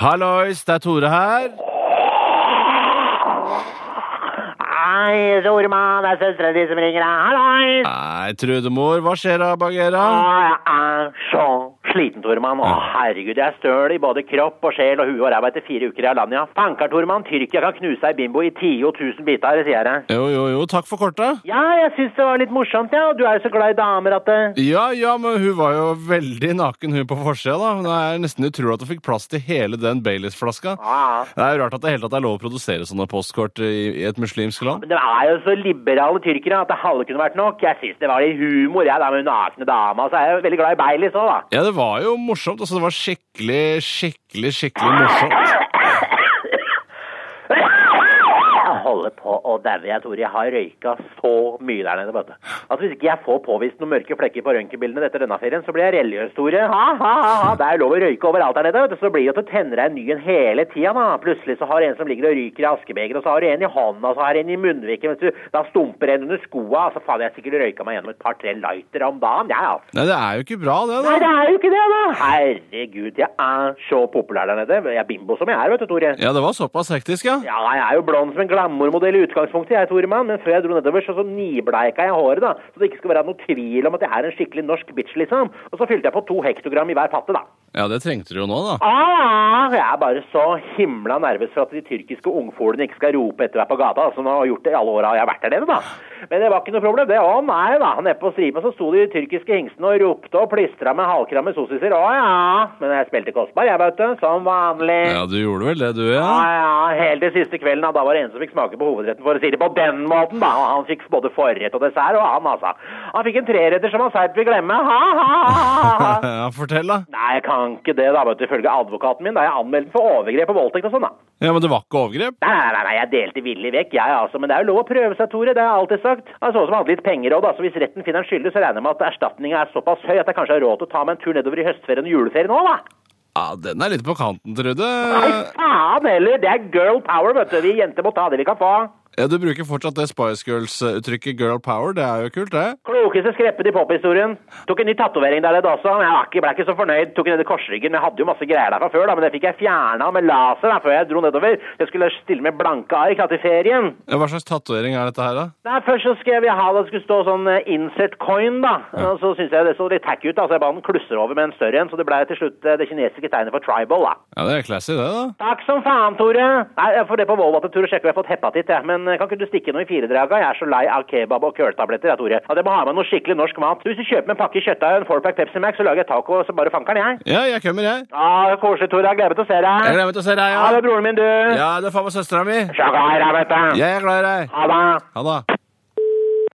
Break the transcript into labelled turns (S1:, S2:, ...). S1: Hallois, det er Tore her.
S2: Hei, Tormann, det er søstera di som ringer deg. Hallois!
S1: Nei, Trudemor, hva skjer da, Bagheera?
S2: Å, Jeg er så sliten, Tormann. Å, herregud, jeg er støl i både kropp og sjel og hue og ræva etter fire uker i Alanya. Fanker, Tormann, Tyrkia kan knuse ei bimbo i 10 000 biter, sier jeg.
S1: Jo, jo, jo, takk for korta.
S2: Ja, jeg syns det var litt morsomt, ja. og Du er jo så glad i damer at eh, det
S1: Ja, ja, men hun var jo veldig naken, hun på forsida, da. Det er nesten utrolig at hun fikk plass til hele den Baileys-flaska.
S2: Ja,
S1: Det er jo rart at det hele tatt er lov å produsere sånne postkort i, i et muslimsk land.
S2: men det er jo så liberale tyrkere at det halve kunne vært nok. Jeg syns det var litt humor, jeg, da med hun nakne dama. Så er jeg jo veldig glad i Baileys òg, da.
S1: Ja, det var jo morsomt. Altså, det var skikkelig, skikkelig, skikkelig morsomt.
S2: Jeg holder på å daue, jeg tror jeg har røyka så mye der nede, vet du. At hvis ikke jeg får påvist noen mørke flekker på røntgenbildene etter denne ferien, så blir jeg religiøs, Tore. Ha, ha, ha, ha. Det er lov å røyke overalt der nede, vet du. Så det blir jo at du tenner deg en ny en hele tida, da. Plutselig så har du en som ligger og ryker i askebeger, og så har du en i hånda, og så har du en i munnviken, mens du da stumper en under skoa. Altså faen, jeg har sikkert røyka meg gjennom et par-tre lightere om dagen, jeg, altså.
S1: Nei, det er jo ikke bra, det,
S2: Nei,
S1: da.
S2: det er jo ikke det, da. Herregud, jeg er så populær der nede. Jeg er bimbo som jeg er, vet du, Tore.
S1: Ja, det var såpass hektisk, ja.
S2: Ja, jeg er jo blond som en glamourmodell i utgangspunktet, jeg, Toremann. Men før jeg dro nedover, så, så nibleika jeg håret, da. Så det ikke skulle være noe tvil om at jeg er en skikkelig norsk bitch, liksom. Og så fylte jeg på to hektogram i hver patte, da.
S1: Ja, det trengte du jo nå, da.
S2: Ah, jeg er bare så himla nervøs for at de tyrkiske ungfolene ikke skal rope etter meg på gata, som de har gjort det i alle åra jeg har vært der nede, da. Men det var ikke noe problem, det. Å nei, da. Nede på stripa så sto de tyrkiske hingstene og ropte og plystra med halvkramme sossiser. Å ja. Men jeg spilte kostbar, jeg, vet du. Som vanlig.
S1: Ja, du gjorde vel det, du, ja.
S2: Ja, ja, helt til siste kvelden, da, da var det en som fikk smake på hovedretten, for å si det på den måten, da. Og han fikk både forrett og dessert, og han, altså. Han fikk en treretter som han seigt vil glemme. Ha, ha, ha, ha, ha.
S1: Ja, fortell, da.
S2: Nei, jeg kan ikke det, da, vet du, ifølge advokaten min. Da er jeg anmeldt for overgrep og voldtekt og sånn, da.
S1: Ja, Men det var ikke overgrep?
S2: Nei, nei, nei, nei, jeg delte villig vekk, jeg altså. Men det er jo lov å prøve seg, Tore. Det har jeg alltid sagt. Jeg så ut som jeg hadde litt penger òg, da. Så hvis retten finner en skyldig, så regner jeg med at erstatninga er såpass høy at jeg kanskje har råd til å ta meg en tur nedover i høstferien og juleferien òg, da.
S1: Ja, Den er litt på kanten, Trude.
S2: Nei,
S1: Eh.
S2: faen heller! Det er girl power, vet du. Vi jenter må ta det vi kan få.
S1: Ja, Du bruker fortsatt det Spice Girls-uttrykket 'girl power'. Det er jo kult, det.
S2: Klokeste skreppet i pophistorien. Tok en ny tatovering der nede også. men Jeg var ikke, ble ikke så fornøyd. Tok ned i korsryggen. men Jeg hadde jo masse greier der fra før, da, men det fikk jeg fjerna med laser da, før jeg dro nedover. Jeg skulle stille med blanke ark da, til ferien.
S1: Ja, Hva slags tatovering er dette her, da?
S2: Nei, først så skrev jeg ha det skulle stå sånn eh, insert coin, da. Og så syntes jeg det så litt tacky ut, da, så jeg ba den klusser over med en større en. Så det ble til slutt eh, det kinesiske tegnet for tribal, da.
S1: Ja, Det er classy, det, da.
S2: Takk som faen, Tore. Nei, jeg får det på Volvat en tur og sjekke om jeg har fått hepatitt, jeg. Men eh, kan ikke du stikke noe i firedraga? Jeg er så lei av kebab og køltabletter, jeg, Tore. At jeg må ha med noe skikkelig norsk mat. Hvis du kjøper meg en pakke kjøttdeig og en fourpack Pepsi Max, så lager jeg taco, så bare fanker den, jeg.
S1: Ja, jeg kommer, jeg.
S2: Ja, koselig, Tore. Jeg gleder meg til å se deg.
S1: Jeg gleder meg til å se deg,
S2: Ha
S1: ja.
S2: det, broren min, du.
S1: Ja, det er faen meg søstera mi.
S2: Sjekk her, jeg, vet du.
S1: Jeg er glad i deg.
S2: Ha det.
S1: Ha det.